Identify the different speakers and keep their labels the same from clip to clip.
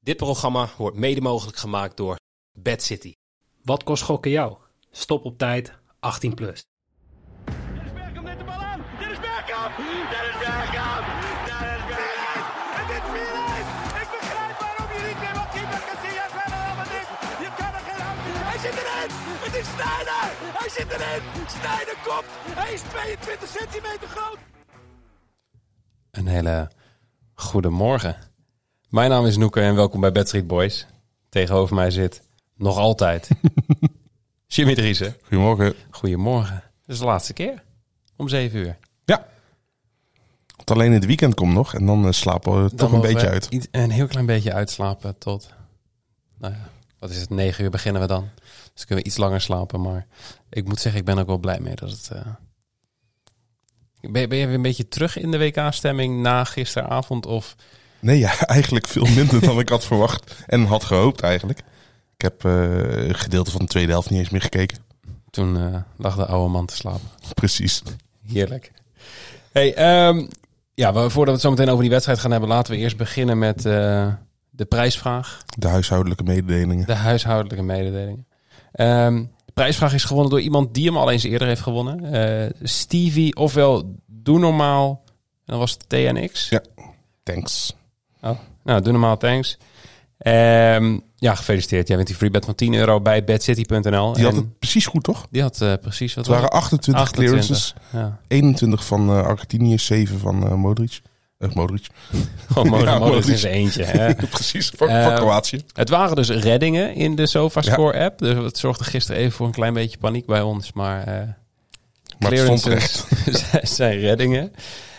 Speaker 1: Dit programma wordt mede mogelijk gemaakt door Bad City.
Speaker 2: Wat kost gokken jou? Stop op tijd, 18 plus.
Speaker 3: Dennis Bergkamp neemt de bal aan. Dennis Bergkamp. Dennis Bergkamp. Dennis Bergkamp. Het is 4-1. Ik begrijp waarom je niet meer wat keeper Casillas verder helemaal niet. Je kan er geen hand in. Hij zit erin. Het is Sneijder. Hij zit erin. Sneijder komt. Hij is 22 centimeter groot.
Speaker 4: Een hele goede morgen. Mijn naam is Noeke en welkom bij Bad Street Boys. Tegenover mij zit nog altijd Jimmy Driessen.
Speaker 5: Goedemorgen.
Speaker 4: Goedemorgen. Dit is de laatste keer. Om zeven uur.
Speaker 5: Ja. Want alleen in het weekend komt nog en dan eh, slapen we
Speaker 4: Dan
Speaker 5: toch een
Speaker 4: mogen
Speaker 5: beetje
Speaker 4: we
Speaker 5: uit.
Speaker 4: iets- Een heel klein beetje uitslapen tot... Nou ja, wat is het? Negen uur beginnen we dan. Dus kunnen we iets langer slapen. Maar ik moet zeggen, ik ben ook wel blij mee dat het... eh, Ben, je- ben je weer een beetje terug in de WK-stemming na gisteravond? Of
Speaker 5: Nee, ja, eigenlijk veel minder dan ik had verwacht en had gehoopt eigenlijk. Ik heb eh, een gedeelte van de tweede helft niet eens meer gekeken.
Speaker 4: toen eh, lag de oude man te slapen?
Speaker 5: Precies.
Speaker 4: Heerlijk. Hey, ehm, ja, we- voordat we het zo meteen over die wedstrijd gaan hebben, laten we eerst beginnen met eh, de prijsvraag.
Speaker 5: De huishoudelijke mededelingen.
Speaker 4: De huishoudelijke mededelingen. Ehm, de prijsvraag is gewonnen door iemand die hem al eens eerder heeft gewonnen. Eh, Stevie, ofwel Doe Normaal. En dat was het TNX.
Speaker 5: Ja. Thanks.
Speaker 4: Nou, Doe Normaal, thanks. Ehm, ja, gefeliciteerd. Jij wint die freebet van 10 euro bij badcity.nl.
Speaker 5: Die had
Speaker 4: En
Speaker 5: het precies goed, toch?
Speaker 4: die had eh, precies wat
Speaker 5: Het waren
Speaker 4: was
Speaker 5: 28,
Speaker 4: 28.
Speaker 5: clearances.
Speaker 4: Ja.
Speaker 5: 21 van eh, Argentinië, 7 van eh, Modric. Eh, Modric.
Speaker 4: Gewoon Modric-
Speaker 5: Ja,
Speaker 4: Modric in
Speaker 5: Modric.
Speaker 4: zijn eentje. Hè?
Speaker 5: precies, van,
Speaker 4: Eh,
Speaker 5: van Kroatië.
Speaker 4: Het waren dus reddingen in de SofaScore-app. Dus dat zorgde gisteren even voor een klein beetje paniek bij ons. Maar, eh
Speaker 5: Maar het stond
Speaker 4: clearances
Speaker 5: terecht.
Speaker 4: zijn- zijn reddingen.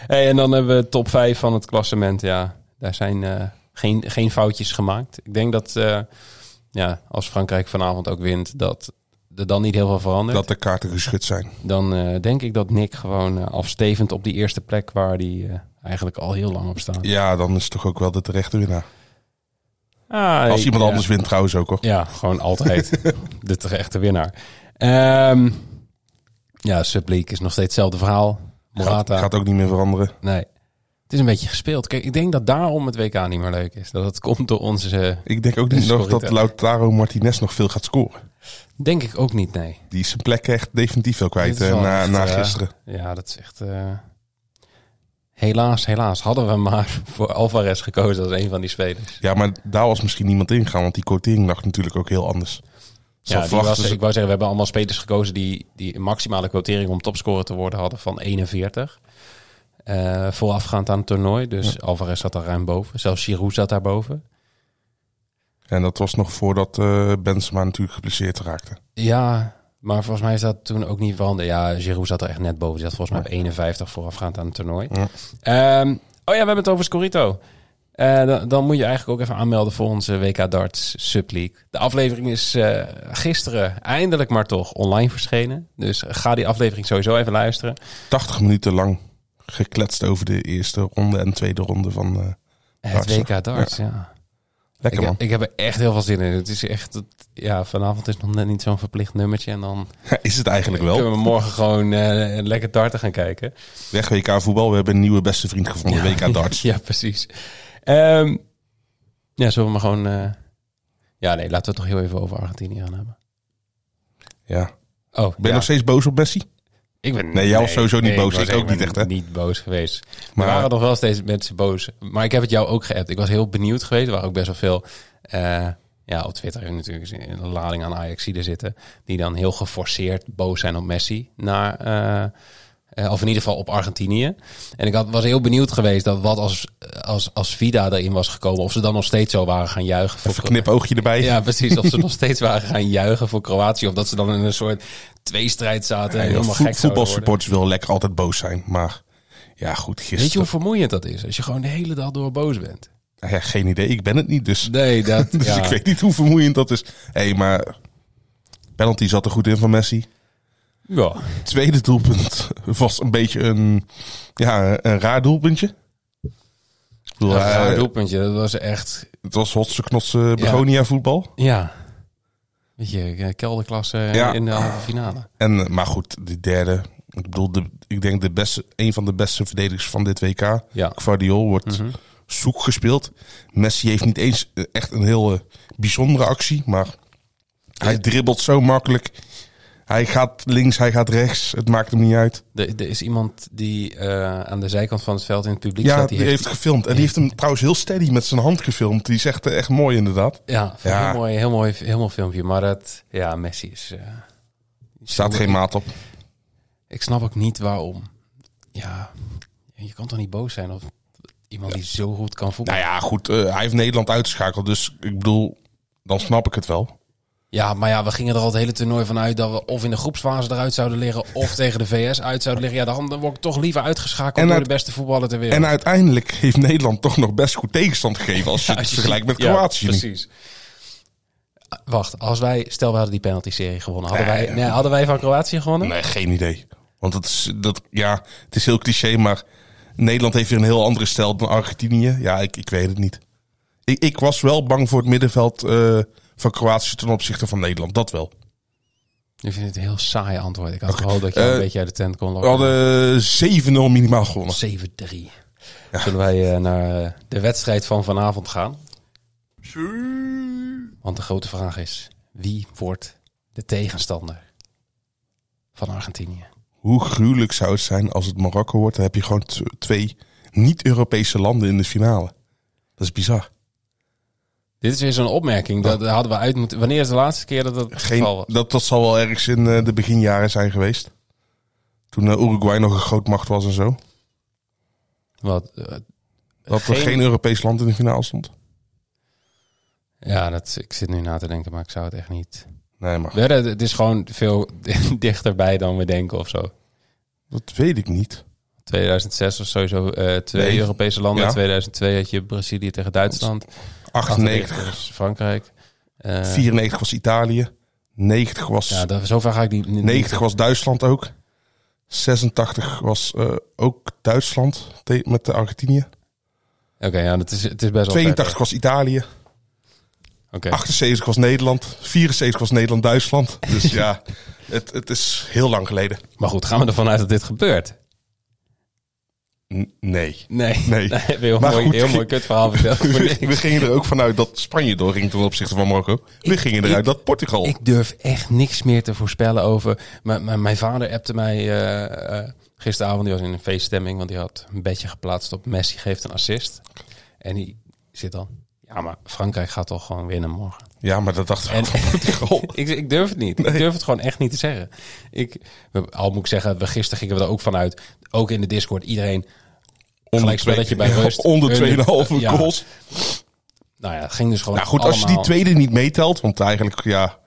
Speaker 4: Hey, en dan hebben we top 5 van het klassement. Ja, daar zijn eh, geen, geen foutjes gemaakt. Ik denk dat eh, ja, als Frankrijk vanavond ook wint, dat er dan niet heel veel verandert.
Speaker 5: Dat de kaarten geschud zijn.
Speaker 4: Dan eh, denk ik dat Nick gewoon eh, afstevend op die eerste plek waar hij eh, eigenlijk al heel lang op staat.
Speaker 5: Ja, dan is het toch ook wel de terechte winnaar.
Speaker 4: Ah,
Speaker 5: Als iemand
Speaker 4: ja.
Speaker 5: anders wint trouwens ook, hoor.
Speaker 4: Ja, gewoon altijd de terechte winnaar. Ehm ja, Subleague is nog steeds hetzelfde verhaal. Morata.
Speaker 5: Gaat, gaat ook niet meer veranderen.
Speaker 4: Nee. Het is een beetje gespeeld. Kijk, ik denk dat daarom het WK niet meer leuk is. Dat het komt door onze...
Speaker 5: Ik denk ook
Speaker 4: Dus
Speaker 5: niet nog
Speaker 4: sorry,
Speaker 5: dat
Speaker 4: Ted.
Speaker 5: Lautaro Martinez nog veel gaat scoren.
Speaker 4: Denk ik ook niet, nee.
Speaker 5: Die is zijn plek echt definitief wel kwijt
Speaker 4: Dit is
Speaker 5: eh,
Speaker 4: wel
Speaker 5: na,
Speaker 4: echt,
Speaker 5: na
Speaker 4: eh,
Speaker 5: gisteren.
Speaker 4: Ja, dat is echt... eh, Helaas, helaas. Hadden we maar voor Alvarez gekozen als een van die spelers.
Speaker 5: Ja, maar daar was misschien niemand ingegaan, want die quotering lag natuurlijk ook heel anders. Zal
Speaker 4: Ja, die
Speaker 5: verwachten
Speaker 4: was,
Speaker 5: ze-
Speaker 4: ik wou zeggen, we hebben allemaal spelers gekozen die, die een maximale quotering om topscorer te worden hadden van 41. Eh, voorafgaand aan het toernooi. Dus Alvarez zat daar ruim boven. Zelfs Giroud zat daar boven.
Speaker 5: En dat was nog voordat eh Benzema natuurlijk geblesseerd raakte.
Speaker 4: Ja, maar volgens mij is dat toen ook niet veranderd. Ja, Giroud zat er echt net boven. Die zat volgens mij op 51 voorafgaand aan het toernooi.
Speaker 5: Ja.
Speaker 4: Ehm, oh ja, we hebben het over Scorito. Eh, dan, dan moet je eigenlijk ook even aanmelden voor onze WK Darts Subleague. De aflevering is eh, gisteren eindelijk maar toch online verschenen. Dus ga die aflevering sowieso even luisteren.
Speaker 5: 80 minuten lang gekletst over de eerste ronde en tweede ronde van... eh,
Speaker 4: Het
Speaker 5: Darts,
Speaker 4: WK Darts, ja.
Speaker 5: lekker
Speaker 4: Ik,
Speaker 5: man.
Speaker 4: ik heb er echt heel veel zin in. Het is echt, het- ja, vanavond is nog net niet zo'n verplicht nummertje. En dan
Speaker 5: is het eigenlijk wel.
Speaker 4: kunnen we morgen gewoon eh, lekker darten gaan kijken.
Speaker 5: Weg WK voetbal, we hebben een nieuwe beste vriend gevonden, WK darts.
Speaker 4: Ja, precies. Ehm, ja, zullen we maar gewoon... eh, ja, nee, laten we het nog heel even over Argentinië gaan hebben.
Speaker 5: Ja.
Speaker 4: Oh,
Speaker 5: Ben je
Speaker 4: ja.
Speaker 5: nog steeds boos op Messi?
Speaker 4: Ik ben,
Speaker 5: Nee, jij was sowieso niet boos.
Speaker 4: wou
Speaker 5: Ik
Speaker 4: zeggen,
Speaker 5: ook niet
Speaker 4: ben
Speaker 5: echt, hè?
Speaker 4: niet boos geweest.
Speaker 5: Maar-
Speaker 4: er waren nog wel steeds mensen boos. Maar ik heb het jou ook geappt. Ik was heel benieuwd geweest. Er waren ook best wel veel... eh, ja, op Twitter heb je natuurlijk eens een lading aan Ajaxiden zitten... die dan heel geforceerd boos zijn op Messi. Naar, eh, eh, of in ieder geval op Argentinië. En ik had, was heel benieuwd geweest dat wat als, als, als Vida erin was gekomen... of ze dan nog steeds zo waren gaan juichen. voor
Speaker 5: Even knipoogje erbij.
Speaker 4: ja, precies. Of ze nog steeds waren gaan juichen voor Kroatië. Of dat ze dan in een soort tweestrijd zaten. en
Speaker 5: Ja,
Speaker 4: helemaal
Speaker 5: voet-
Speaker 4: gek zouden worden.
Speaker 5: voetbalsupporters willen lekker altijd boos zijn. Maar ja, goed,
Speaker 4: Weet je hoe
Speaker 5: gisteren.
Speaker 4: vermoeiend dat is? Als je gewoon de hele dag door boos bent.
Speaker 5: Ja, geen idee, ik ben het niet. Dus,
Speaker 4: Nee, dat...
Speaker 5: dus
Speaker 4: ja.
Speaker 5: ik weet niet hoe vermoeiend dat is. Hé, hey, maar penalty zat er goed in van Messi.
Speaker 4: Ja.
Speaker 5: Tweede doelpunt was een beetje een, ja, een raar doelpuntje. Ik bedoel,
Speaker 4: Dat
Speaker 5: eh,
Speaker 4: raar doelpuntje. Dat was echt...
Speaker 5: het was hotse knotse Begonia voetbal.
Speaker 4: Ja. Weet je, eh, kelderklasse eh,
Speaker 5: Ja.
Speaker 4: in de halve finale.
Speaker 5: En, eh, maar goed, die derde. Ik bedoel, de, ik denk de beste, een van de beste verdedigers van dit WK.
Speaker 4: Ja. Mhm.
Speaker 5: Guardiol wordt zoek gespeeld. Messi heeft niet eens eh, echt een heel eh, bijzondere actie, maar hij dribbelt zo makkelijk. Hij gaat links, hij gaat rechts. Het maakt hem niet uit.
Speaker 4: Er, er is iemand die eh, aan de zijkant van het veld in het publiek
Speaker 5: Ja,
Speaker 4: staat.
Speaker 5: die heeft gefilmd. En die heeft hem trouwens heel steady met zijn hand gefilmd. Die is echt, eh, echt mooi inderdaad.
Speaker 4: Ja,
Speaker 5: Ja.
Speaker 4: heel mooi, heel mooi, heel mooi filmpje. Maar dat, ja, Messi is... eh,
Speaker 5: Staat geen maat op.
Speaker 4: Ik snap ook niet waarom. Ja, je kan toch niet boos zijn op iemand die zo goed kan voetballen?
Speaker 5: Nou ja, goed. eh, hij heeft Nederland uitgeschakeld. Dus ik bedoel, dan snap ik het wel.
Speaker 4: Ja, maar ja, we gingen er al het hele toernooi van uit dat we of in de groepsfase eruit zouden liggen of tegen de VS uit zouden liggen. Ja, dan dan word ik toch liever uitgeschakeld
Speaker 5: En
Speaker 4: door
Speaker 5: uit-
Speaker 4: de beste voetballer ter wereld.
Speaker 5: En uiteindelijk heeft Nederland toch nog best goed tegenstand gegeven. Als je
Speaker 4: Ja,
Speaker 5: het
Speaker 4: als je
Speaker 5: vergelijkt met
Speaker 4: ziet- ja,
Speaker 5: Kroatië. nu.
Speaker 4: precies. Wacht, als wij, stel we hadden die penalty-serie gewonnen. Hadden,
Speaker 5: Nee.
Speaker 4: wij, nee, hadden wij van Kroatië gewonnen?
Speaker 5: Nee, geen idee. Want dat is, dat, ja, het is heel cliché, maar Nederland heeft weer een heel andere stijl dan Argentinië. Ja, ik, ik weet het niet. Ik, ik was wel bang voor het middenveld eh, van Kroatië ten opzichte van Nederland. Dat wel.
Speaker 4: Ik vind het een heel saai antwoord. Ik had gehoopt dat je een
Speaker 5: Eh,
Speaker 4: beetje uit de tent kon
Speaker 5: We
Speaker 4: lokken.
Speaker 5: hadden 7-0 minimaal gewonnen.
Speaker 4: 7-3. Zullen wij eh, naar eh, de wedstrijd van vanavond gaan? Want de grote vraag is, wie wordt de tegenstander van Argentinië?
Speaker 5: Hoe gruwelijk zou het zijn als het Marokko wordt? Dan heb je gewoon t- twee niet-Europese landen in de finale. Dat is bizar.
Speaker 4: Dit is weer zo'n opmerking, dat dat hadden we uit moeten... Wanneer is de laatste keer dat dat het geval
Speaker 5: Geen,
Speaker 4: was?
Speaker 5: dat, dat zal wel ergens in eh, de beginjaren zijn geweest. Toen eh, Uruguay nog een grootmacht was en zo.
Speaker 4: Wat, eh,
Speaker 5: Dat er
Speaker 4: Geen-
Speaker 5: geen Europees land in de finale stond.
Speaker 4: ja, dat, ik zit nu na te denken, maar ik zou het echt niet...
Speaker 5: Nee, maar
Speaker 4: We hadden- Het is gewoon veel dichterbij dan we denken of zo.
Speaker 5: dat weet ik niet.
Speaker 4: 2006 was sowieso eh, twee
Speaker 5: Nee.
Speaker 4: Europese landen.
Speaker 5: Ja.
Speaker 4: 2002 had je Brazilië tegen Duitsland.
Speaker 5: 98,
Speaker 4: was Frankrijk. Eh,
Speaker 5: 94 was Italië. 90 was,
Speaker 4: Ja, dat, zover ga ik die... niet-
Speaker 5: 90 was Duitsland ook. 86 was eh, ook Duitsland te- met de Argentinië.
Speaker 4: Oké, ja, dat is, het is best wel...
Speaker 5: 82 was Italië.
Speaker 4: ver. Oké.
Speaker 5: 78 was Nederland. 74 was Nederland-Duitsland. Dus ja, het, het is heel lang geleden.
Speaker 4: Maar goed, gaan we ervan uit dat dit gebeurt?
Speaker 5: N- nee.
Speaker 4: Nee.
Speaker 5: Nee.
Speaker 4: Daar heb je heel
Speaker 5: Maar
Speaker 4: mooi,
Speaker 5: goed,
Speaker 4: heel mooi
Speaker 5: ik-
Speaker 4: kutverhaal verteld. voor
Speaker 5: We, we
Speaker 4: niks.
Speaker 5: gingen er ook vanuit dat Spanje doorging ten opzichte van Marokko. We gingen eruit dat Portugal.
Speaker 4: Ik durf echt niks meer te voorspellen over... Mijn, mijn, mijn vader appte mij eh, eh, gisteravond. Die was in een feeststemming, want die had een bedje geplaatst op... Messi geeft een assist. En die zit dan... Ja, maar Frankrijk gaat toch gewoon winnen morgen.
Speaker 5: ja, maar dat dachten we
Speaker 4: En-
Speaker 5: ook van Portugal.
Speaker 4: ik, ik durf het niet. Ik durf het gewoon echt niet te zeggen. Ik, we- al moet ik zeggen, we, gisteren gingen we er ook vanuit. Ook in de Discord, iedereen.
Speaker 5: Onder
Speaker 4: Gelijkspelletje bij rust.
Speaker 5: onder 2,5
Speaker 4: Ja.
Speaker 5: goals.
Speaker 4: Nou ja, het ging dus gewoon.
Speaker 5: Nou goed, als je die
Speaker 4: allemaal-
Speaker 5: tweede niet meetelt, want eigenlijk, ja,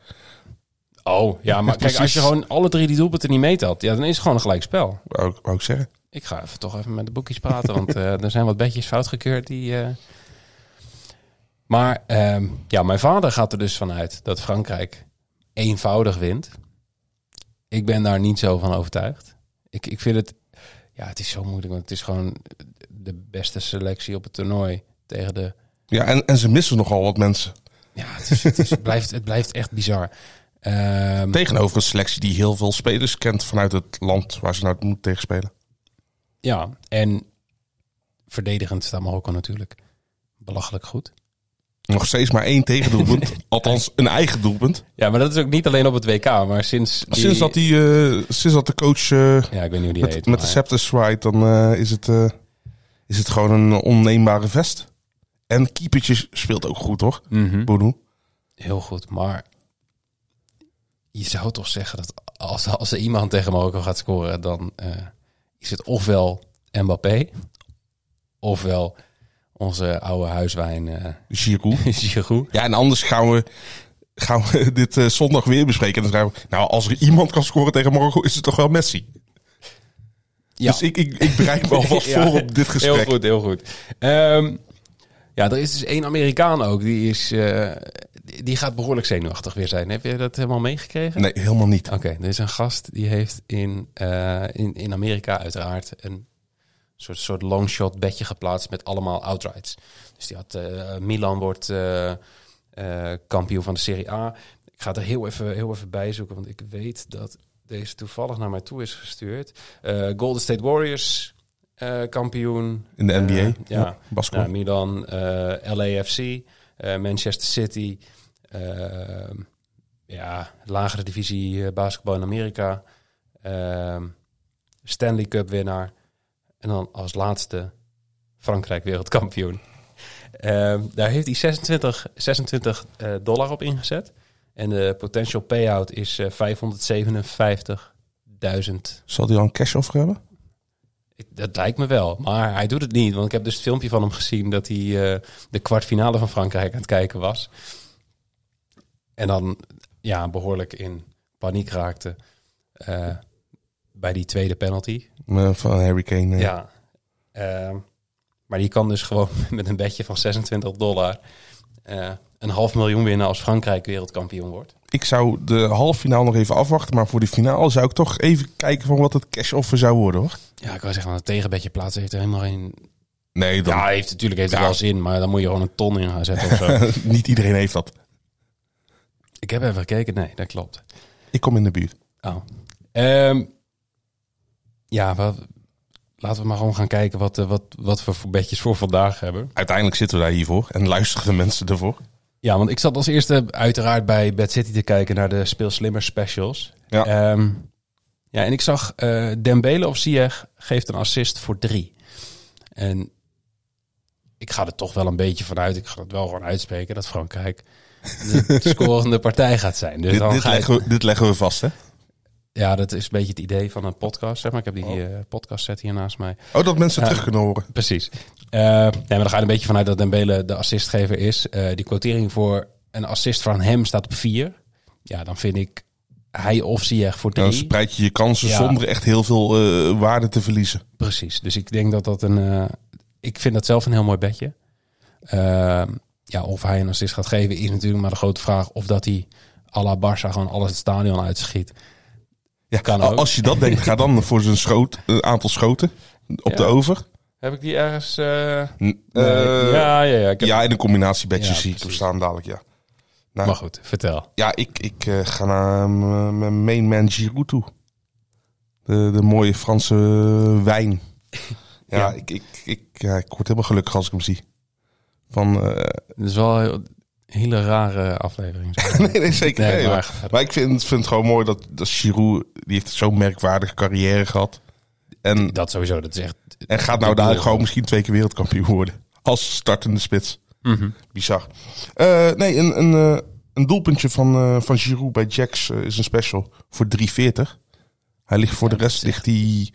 Speaker 4: Oh ja, maar kijk, als je
Speaker 5: Precies.
Speaker 4: gewoon alle drie die doelpunten niet meetelt, ja, dan is het gewoon een gelijk spel.
Speaker 5: wou, ik- wou ik zeggen.
Speaker 4: Ik ga even, toch even met de boekjes praten, want eh, er zijn wat bedjes fout gekeurd. Die, eh. Maar ehm, ja, mijn vader gaat er dus vanuit dat Frankrijk eenvoudig wint. Ik ben daar niet zo van overtuigd. Ik, ik vind het, ja, het is zo moeilijk, want het is gewoon de beste selectie op het toernooi tegen de.
Speaker 5: Ja, en, en ze missen nogal wat mensen.
Speaker 4: Ja, het, is, het, is- het blijft, het blijft echt bizar. Ehm,
Speaker 5: Tegenover een selectie die heel veel spelers kent vanuit het land waar ze nou moeten tegenspelen.
Speaker 4: Ja, en verdedigend staat Marokko natuurlijk belachelijk goed.
Speaker 5: Nog steeds maar één tegendoelpunt, althans een eigen doelpunt.
Speaker 4: Ja, maar dat is ook niet alleen op het WK, maar sinds... die-
Speaker 5: Sinds, dat die, eh, sinds dat de coach eh,
Speaker 4: Ja, ik weet niet hoe die
Speaker 5: met,
Speaker 4: heet.
Speaker 5: met de
Speaker 4: maar-
Speaker 5: scepter zwaait, dan eh, is, het, eh, is het gewoon een onneembare vest. En keepertje speelt ook goed hoor,
Speaker 4: Mhm.
Speaker 5: Bono.
Speaker 4: Heel goed, maar je zou toch zeggen dat als, als er iemand tegen Marokko gaat scoren, dan eh, is het ofwel Mbappé, ofwel onze oude huiswijn eh
Speaker 5: Giroud.
Speaker 4: Giroud.
Speaker 5: Ja, en anders gaan we, gaan we dit eh, zondag weer bespreken. En dan zeggen we, nou, als er iemand kan scoren tegen Marokko, is het toch wel Messi.
Speaker 4: Ja.
Speaker 5: Dus ik, ik, ik bereid me alvast
Speaker 4: Ja.
Speaker 5: voor op dit gesprek.
Speaker 4: Heel goed, heel goed. Ehm, ja, er is dus één Amerikaan ook. Die, is, eh, die- die gaat behoorlijk zenuwachtig weer zijn. Heb je dat helemaal meegekregen?
Speaker 5: Nee, helemaal niet.
Speaker 4: Oké, er is een gast die heeft in, eh, in, in Amerika uiteraard een soort, soort longshot bedje geplaatst met allemaal outrights. Dus die had eh, Milan wordt eh, eh, kampioen van de Serie A. Ik ga het er heel even, heel even bij zoeken, want ik weet dat deze toevallig naar mij toe is gestuurd. Eh, Golden State Warriors eh, kampioen.
Speaker 5: In de NBA.
Speaker 4: Eh,
Speaker 5: ja,
Speaker 4: ja.
Speaker 5: Basco.
Speaker 4: Ja, Milan, eh, LAFC, eh, Manchester City. eh, ja, lagere divisie eh, basketbal in Amerika. eh, Stanley Cup winnaar. En dan als laatste Frankrijk wereldkampioen. Eh, daar heeft hij 26, 26 eh, dollar op ingezet. En de potential payout is eh, 557.000
Speaker 5: Zal die al een cash-offer hebben?
Speaker 4: ik- Dat lijkt me wel, maar hij doet het niet. Want ik heb dus het filmpje van hem gezien dat hij eh, de kwartfinale van Frankrijk aan het kijken was. En dan ja, behoorlijk in paniek raakte eh, bij die tweede penalty.
Speaker 5: Eh, van Harry Kane. eh.
Speaker 4: Ja. Ehm, maar die kan dus gewoon met een bedje van 26 dollar eh, een half miljoen winnen als Frankrijk wereldkampioen wordt.
Speaker 5: Ik zou de halve finale nog even afwachten. Maar voor de finale zou ik toch even kijken van wat het cash-offer zou worden, hoor.
Speaker 4: Ja, ik wou zeggen, een tegenbedje plaatsen heeft er helemaal geen...
Speaker 5: Nee, dan,
Speaker 4: Ja, hij heeft, natuurlijk heeft het
Speaker 5: Ja.
Speaker 4: wel zin, maar dan moet je gewoon een ton in gaan zetten of zo.
Speaker 5: niet iedereen heeft dat.
Speaker 4: ik heb even gekeken, nee, dat klopt.
Speaker 5: Ik kom in de buurt.
Speaker 4: Oh. Ehm, ja, wat- laten we maar gewoon gaan kijken wat, eh, wat, wat we voor bedjes voor vandaag hebben.
Speaker 5: Uiteindelijk zitten we daar hiervoor en luisteren de mensen ervoor.
Speaker 4: Ja, want ik zat als eerste uiteraard bij Bad City te kijken naar de Speel Slimmer specials.
Speaker 5: Ja.
Speaker 4: Ehm, ja, en ik zag eh Dembele of Ziyech geeft een assist voor drie. En ik ga er toch wel een beetje vanuit. Ik ga het wel gewoon uitspreken dat Frankrijk de scorende partij gaat zijn. Dus
Speaker 5: Dit,
Speaker 4: dan
Speaker 5: dit,
Speaker 4: ga ik-
Speaker 5: leggen we, dit leggen we vast, hè?
Speaker 4: Ja, dat is een beetje het idee van een podcast. Zeg maar. Ik heb die eh, podcast set hier naast mij.
Speaker 5: Oh, dat mensen
Speaker 4: Ja.
Speaker 5: terug kunnen horen.
Speaker 4: Precies. Eh, nee, maar dan ga je een beetje vanuit dat Dembele de assistgever is. Eh, die quotering voor een assist van hem staat op 4. Ja, dan vind ik hij of Ziyech voor 3.
Speaker 5: Dan spreid je je kansen
Speaker 4: Ja.
Speaker 5: zonder echt heel veel eh, waarde te verliezen.
Speaker 4: Precies. Dus ik denk dat dat een... eh, ik vind dat zelf een heel mooi bedje. Ehm, ja, of hij een assist gaat geven is natuurlijk maar de grote vraag. Of dat hij à la Barça gewoon alles het stadion uitschiet.
Speaker 5: Ja,
Speaker 4: Kan
Speaker 5: al-
Speaker 4: ook.
Speaker 5: Als je dat denkt, ga dan voor zijn schoot, een aantal schoten op
Speaker 4: Ja.
Speaker 5: de over.
Speaker 4: Heb ik die ergens...
Speaker 5: N- eh,
Speaker 4: ja, ja,
Speaker 5: ja,
Speaker 4: ja. Ik heb-
Speaker 5: in een combinatiebedje
Speaker 4: Ja,
Speaker 5: zie ik hem
Speaker 4: precies.
Speaker 5: staan dadelijk, ja. Nou,
Speaker 4: Maar goed, vertel.
Speaker 5: Ja, ik, ik eh, ga naar eh, m- mijn main man Giroud toe. De, de mooie Franse eh, wijn. Ja,
Speaker 4: Ja.
Speaker 5: Ik, ik, ik, ja, ik word helemaal gelukkig als ik hem zie. Van, eh,
Speaker 4: Dat is wel een hele rare aflevering.
Speaker 5: nee, nee, zeker.
Speaker 4: Nee,
Speaker 5: Nee, maar,
Speaker 4: maar-
Speaker 5: maar ik vind, vind het gewoon mooi dat, dat Giroud... die heeft zo'n merkwaardige carrière gehad. En,
Speaker 4: Dat sowieso, dat is echt...
Speaker 5: en gaat nou daar gewoon misschien twee keer wereldkampioen worden. Als startende spits. Bizar. Eh, nee, een, een, eh, een doelpuntje van, eh, van Giroud bij Jax eh, is een special voor 3,40. Hij ligt voor de rest ligt hij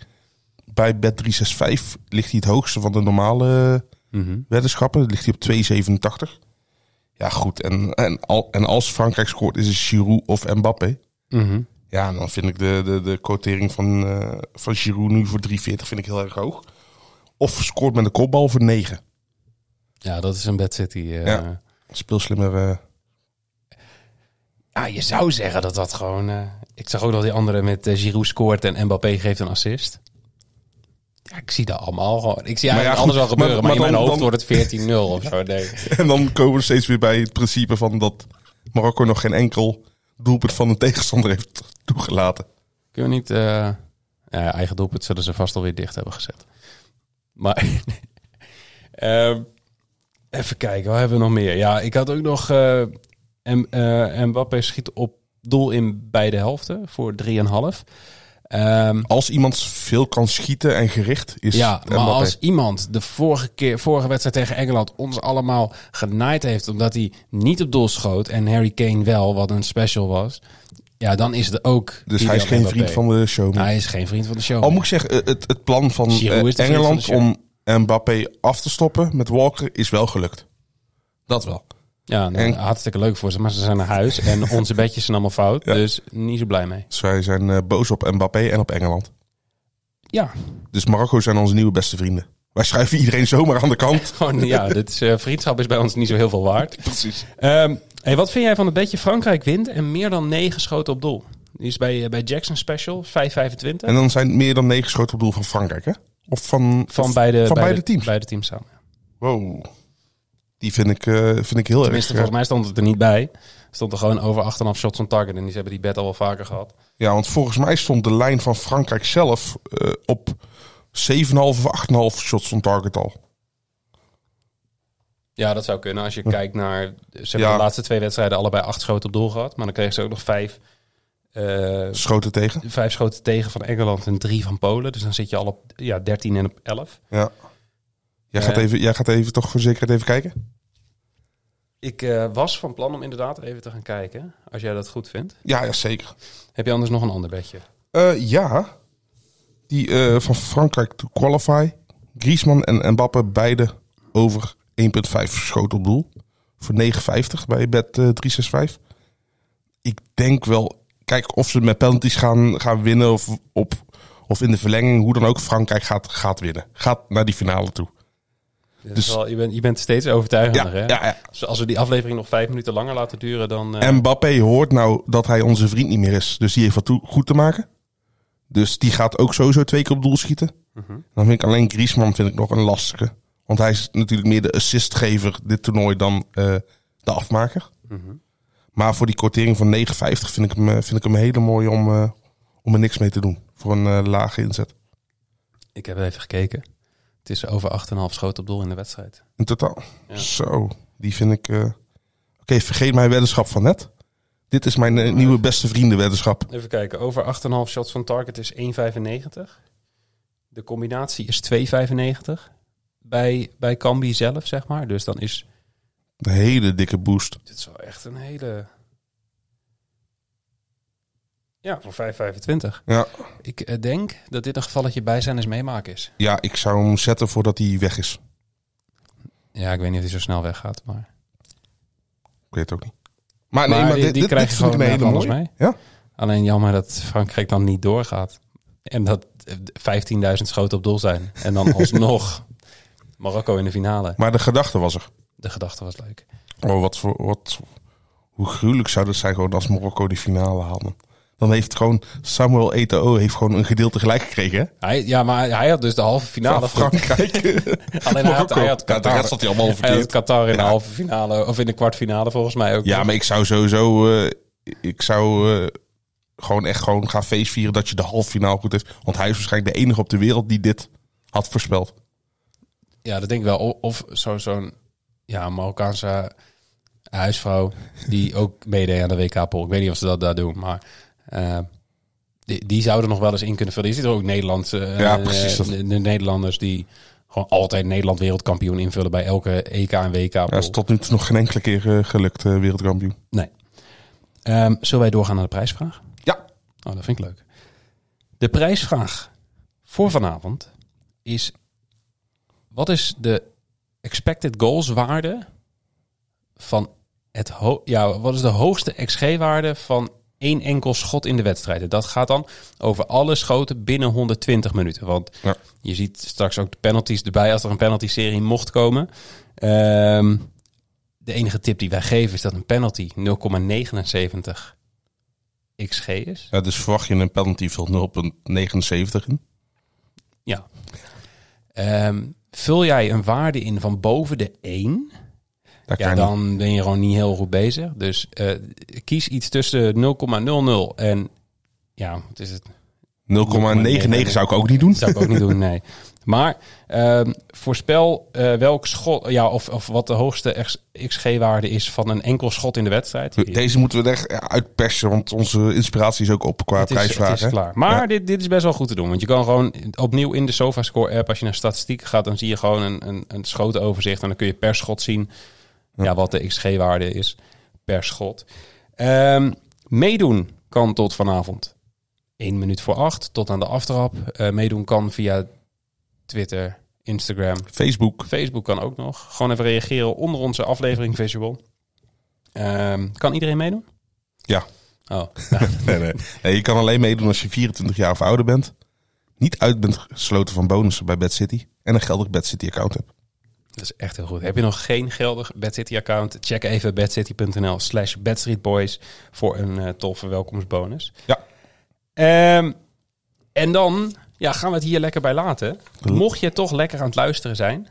Speaker 5: bij bet 365 ligt hij het hoogste van de normale weddenschappen. Ligt hij op 2,87. Ja, goed. En, en, al, en als Frankrijk scoort, is het Giroud of Mbappé. Ja, en dan vind ik de, de, de quotering van, eh, van Giroud nu voor 3,40 vind ik heel erg hoog. Of scoort met een kopbal voor 9.
Speaker 4: Ja, dat is een Bad City. eh.
Speaker 5: Ja. Speel slimmer. eh,
Speaker 4: Ah, je zou zeggen dat dat gewoon... eh, ik zag ook dat die andere met eh, Giroud scoort en Mbappé geeft een assist. Ja, ik zie dat allemaal gewoon. Ik zie
Speaker 5: Maar ja,
Speaker 4: eigenlijk
Speaker 5: goed,
Speaker 4: alles wel gebeuren,
Speaker 5: maar-
Speaker 4: maar,
Speaker 5: maar
Speaker 4: in mijn
Speaker 5: dan-
Speaker 4: hoofd
Speaker 5: dan-
Speaker 4: wordt het 14-0 of zo. Nee.
Speaker 5: En dan komen we steeds weer bij het principe van dat Marokko nog geen enkel doelpunt van een tegenstander heeft toegelaten.
Speaker 4: Kunnen we niet... eh, nou ja, eigen doelpunt zullen ze vast alweer dicht hebben gezet. Maar... ehm, even kijken, wat hebben we nog meer? Ja, ik had ook nog... eh M- eh, Mbappé schiet op doel in beide helften voor 3,5. Ehm
Speaker 5: Als iemand veel kan schieten en gericht is
Speaker 4: ja, maar
Speaker 5: Mbappé.
Speaker 4: als iemand de vorige, keer, vorige wedstrijd tegen Engeland ons allemaal genaaid heeft... omdat hij niet op doel schoot en Harry Kane wel, wat een special was... ja, dan is het ook...
Speaker 5: Dus
Speaker 4: die
Speaker 5: hij is
Speaker 4: dan
Speaker 5: geen
Speaker 4: Mbappé.
Speaker 5: vriend van de show.
Speaker 4: Hij is geen vriend van de show.
Speaker 5: Al moet ik zeggen, eh, het, het plan van eh,
Speaker 4: Giroud is de vriend
Speaker 5: Engeland
Speaker 4: van de
Speaker 5: om Mbappé af te stoppen met Walker is wel gelukt. Dat wel.
Speaker 4: Ja, nou,
Speaker 5: En-
Speaker 4: hartstikke leuk voor ze, maar ze zijn naar huis en onze bedjes zijn allemaal fout,
Speaker 5: Ja.
Speaker 4: dus niet zo blij mee.
Speaker 5: Zij zijn eh, boos op Mbappé en op Engeland.
Speaker 4: Ja,
Speaker 5: Dus Marokko zijn onze nieuwe beste vrienden. Wij schuiven iedereen zomaar aan de kant.
Speaker 4: gewoon, ja dit is, eh, vriendschap is bij ons niet zo heel veel waard.
Speaker 5: Precies.
Speaker 4: Ehm, hey, wat vind jij van het bedje Frankrijk wint en meer dan 9 schoten op doel? Die is bij, eh, bij Jackson Special, 5,25.
Speaker 5: En dan zijn het meer dan negen schoten op doel van Frankrijk, hè? Of van,
Speaker 4: Van
Speaker 5: of-
Speaker 4: beide,
Speaker 5: van beide teams.
Speaker 4: Beide teams samen.
Speaker 5: Wow. Die vind ik, eh, vind ik heel
Speaker 4: Tenminste,
Speaker 5: erg. eh,
Speaker 4: volgens mij stond het er niet bij. Stond er gewoon over 8,5 shots on target. En die ze hebben die bet al wel vaker gehad.
Speaker 5: Ja, want volgens mij stond de lijn van Frankrijk zelf eh, op 7,5 of 8,5 shots on target al.
Speaker 4: Ja, dat zou kunnen. Als je kijkt naar... Ze hebben
Speaker 5: Ja.
Speaker 4: de laatste twee wedstrijden allebei acht schoten op doel gehad. Maar dan kregen ze ook nog vijf... eh,
Speaker 5: Schoten tegen.
Speaker 4: vijf schoten tegen van Engeland en drie van Polen. Dus dan zit je al op ja, 13 en op 11.
Speaker 5: Ja. Jij,
Speaker 4: Ja.
Speaker 5: gaat even, jij gaat even toch voor zekerheid even kijken?
Speaker 4: Ik eh, was van plan om inderdaad even te gaan kijken. Als jij dat goed vindt.
Speaker 5: Ja, ja zeker.
Speaker 4: Heb je anders nog een ander bedje?
Speaker 5: Eh, ja. Die eh, van Frankrijk to qualify. Griezmann en Mbappe beide over 1,5 schoten op doel. Voor 9,50 bij bet eh, 365. Ik denk wel, kijk of ze met penalties gaan, gaan winnen of, op, of in de verlenging, hoe dan ook, Frankrijk gaat, gaat winnen. Gaat naar die finale toe.
Speaker 4: Dit
Speaker 5: Dus-
Speaker 4: is wel- je, bent, je bent steeds overtuigender,
Speaker 5: Ja,
Speaker 4: hè?
Speaker 5: ja, ja.
Speaker 4: Dus als we die aflevering nog vijf minuten langer laten duren, dan... eh,
Speaker 5: Mbappé hoort nou dat hij onze vriend niet meer is. Dus die heeft wat toe- goed te maken. Dus die gaat ook sowieso twee keer op doel schieten. Dan vind ik alleen Griezmann vind ik nog een lastige. Want hij is natuurlijk meer de assistgever dit toernooi dan eh, de afmaker. Maar voor die kortering van 9,50 vind ik hem, eh, vind ik hem hele mooi om, eh, om er niks mee te doen. Voor een eh, lage inzet.
Speaker 4: Ik heb even gekeken. Het is over 8,5 schoten op doel in de wedstrijd.
Speaker 5: In totaal.
Speaker 4: Ja.
Speaker 5: Zo, die vind ik... eh, Oké, vergeet mijn weddenschap van net. Dit is mijn eh, nieuwe beste vrienden weddenschap.
Speaker 4: Even kijken. Over 8,5 shots van target is 1,95. De combinatie is 2,95. Bij, bij Cambi zelf, zeg maar. Dus dan is...
Speaker 5: Een hele dikke boost.
Speaker 4: Dit is wel echt een hele... Ja, voor 5,25.
Speaker 5: Ja.
Speaker 4: Ik eh, denk dat dit een gevalletje bij zijn is meemaken is.
Speaker 5: Ja, ik zou hem zetten voordat hij weg is.
Speaker 4: Ja, ik weet niet of hij zo snel weggaat, maar...
Speaker 5: Ik weet het ook niet. Maar,
Speaker 4: Maar
Speaker 5: Ah, nee, maar
Speaker 4: die-
Speaker 5: dit,
Speaker 4: die
Speaker 5: dit,
Speaker 4: krijg
Speaker 5: dit
Speaker 4: je
Speaker 5: vind ik
Speaker 4: gewoon
Speaker 5: een hele
Speaker 4: met alles
Speaker 5: mooie. Ja.
Speaker 4: Alleen jammer dat Frankrijk dan niet doorgaat. En dat eh, 15.000 schoten op doel zijn. En dan alsnog Marokko in de finale.
Speaker 5: Maar de gedachte was er.
Speaker 4: De gedachte was leuk.
Speaker 5: Oh, wat voor, wat, hoe gruwelijk zou dat zijn gewoon als Marokko die finale haalde. Dan heeft gewoon Samuel Eto'o heeft gewoon een gedeelte gelijk gekregen. Hè?
Speaker 4: Hij, ja, maar hij had dus de halve finale.
Speaker 5: Van
Speaker 4: goed.
Speaker 5: Frankrijk.
Speaker 4: Alleen hij had,
Speaker 5: Marokko.
Speaker 4: hij had
Speaker 5: Ja, de
Speaker 4: Qatar.
Speaker 5: rest had hij allemaal
Speaker 4: Hij had
Speaker 5: verkeerd.
Speaker 4: Qatar in de
Speaker 5: Ja.
Speaker 4: halve finale. Of in de kwartfinale volgens mij ook.
Speaker 5: Ja, maar ik zou sowieso... eh, ik zou eh, gewoon echt gewoon gaan feestvieren dat je de halve finale goed is. Want hij is waarschijnlijk de enige op de wereld die dit had voorspeld.
Speaker 4: Ja, dat denk ik wel. O- Of zo- zo'n ja, Marokkaanse huisvrouw die ook meedeed aan de WK-pool. Ik weet niet of ze dat daar doen, maar eh, die, die zouden nog wel eens in kunnen vullen. Je ziet er ook Nederlandse, eh,
Speaker 5: Ja, precies, dat-
Speaker 4: de, de Nederlanders die gewoon altijd Nederland wereldkampioen invullen bij elke EK en WK-pool.
Speaker 5: Ja, is tot nu toe nog geen enkele keer eh, gelukt, eh, wereldkampioen.
Speaker 4: Nee. Ehm, zullen wij doorgaan naar de prijsvraag?
Speaker 5: Ja.
Speaker 4: Oh, dat vind ik leuk. De prijsvraag voor vanavond is... Wat is de expected goals waarde van het... ho- ja, wat is de hoogste XG-waarde van één enkel schot in de wedstrijden? Dat gaat dan over alle schoten binnen 120 minuten. Want
Speaker 5: Ja.
Speaker 4: je ziet straks ook de penalties erbij als er een penalty-serie mocht komen. Ehm, de enige tip die wij geven is dat een penalty 0,79 XG is.
Speaker 5: Ja, dus verwacht je een penalty van 0,79 in?
Speaker 4: Ja. Ehm, vul jij een waarde in van boven de 1,
Speaker 5: Daar
Speaker 4: ja,
Speaker 5: kan je-
Speaker 4: dan ben je gewoon niet heel goed bezig. Dus eh, kies iets tussen 0,00 en... Ja, wat is het?
Speaker 5: 0,99 zou ik ook niet doen.
Speaker 4: Dat zou ik ook niet doen, nee. Maar ehm, voorspel eh, welk schot... Ja, of, of wat de hoogste XG-waarde is van een enkel schot in de wedstrijd.
Speaker 5: Deze moeten we er echt eh, uitpersen, want onze inspiratie is ook op qua
Speaker 4: Het is-
Speaker 5: prijsvragen.
Speaker 4: het is klaar. Maar dit, dit is best wel goed te doen. Want je kan gewoon opnieuw in de SofaScore app, als je naar statistieken gaat, dan zie je gewoon een, een, een schotenoverzicht. En dan kun je per schot zien ja. wat de XG-waarde is per schot. Ehm, meedoen kan tot vanavond 1 minuut voor 8 tot aan de aftrap. Eh, meedoen kan via Twitter, Instagram,
Speaker 5: Facebook.
Speaker 4: Facebook kan ook nog. Gewoon even reageren onder onze aflevering visual. Ehm, kan iedereen meedoen?
Speaker 5: Ja.
Speaker 4: Oh, nou,
Speaker 5: Nee, nee. Nee, je kan alleen meedoen als je 24 jaar of ouder bent. Niet uit bent gesloten van bonussen bij Bad City. En een geldig Bad City account hebt.
Speaker 4: Dat is echt heel goed. Heb je nog geen geldig Bad City account? Check even badcity.nl slash badstreetboys voor een eh, toffe welkomstbonus.
Speaker 5: Ja.
Speaker 4: Ehm, en dan ja, gaan we het hier lekker bij laten.
Speaker 5: Doe.
Speaker 4: Mocht je toch lekker aan het luisteren zijn,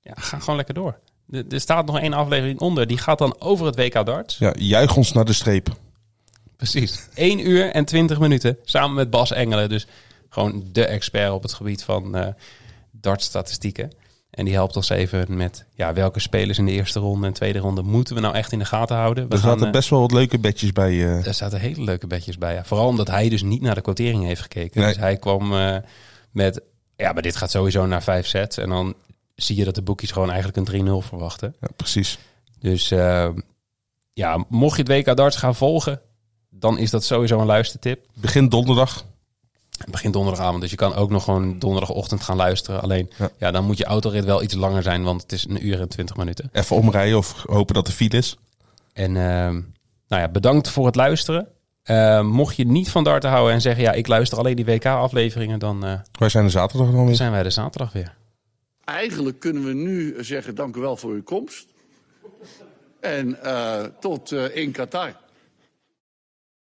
Speaker 4: ja, ga gewoon lekker door. Er er staat nog één aflevering onder. Die gaat dan over het WK darts.
Speaker 5: Ja, juich ons naar de streep.
Speaker 4: Precies. 1 uur en 20 minuten samen met Bas Engelen. Dus Gewoon de expert op het gebied van eh dartstatistieken. En die helpt ons even met ja, welke spelers in de eerste ronde en tweede ronde moeten we nou echt in de gaten houden. We
Speaker 5: Er
Speaker 4: gaan,
Speaker 5: zaten
Speaker 4: eh,
Speaker 5: best wel wat leuke bedjes bij. eh,
Speaker 4: er zaten hele leuke bedjes bij. Ja. Vooral omdat hij dus niet naar de quotering heeft gekeken.
Speaker 5: Nee.
Speaker 4: Dus hij kwam eh, met, ja, maar dit gaat sowieso naar vijf sets. En dan zie je dat de boekjes gewoon eigenlijk een 3-0 verwachten.
Speaker 5: ja, precies.
Speaker 4: Dus eh, ja, mocht je het WK darts gaan volgen, dan is dat sowieso een luistertip.
Speaker 5: Begin donderdag.
Speaker 4: Het begint donderdagavond, dus je kan ook nog gewoon donderdagochtend gaan luisteren. Alleen,
Speaker 5: Ja.
Speaker 4: ja. dan moet je autorit wel iets langer zijn, want het is een uur en twintig minuten.
Speaker 5: Even omrijden of hopen dat de file is.
Speaker 4: En ehm, nou ja, bedankt voor het luisteren. Eh, mocht je niet van darten houden en zeggen, ja, ik luister alleen die WK-afleveringen, dan eh,
Speaker 5: Wij zijn er zaterdag dan weer.
Speaker 4: zijn wij er zaterdag weer.
Speaker 6: Eigenlijk kunnen we nu zeggen: dank u wel voor uw komst. En eh, tot eh, in Qatar.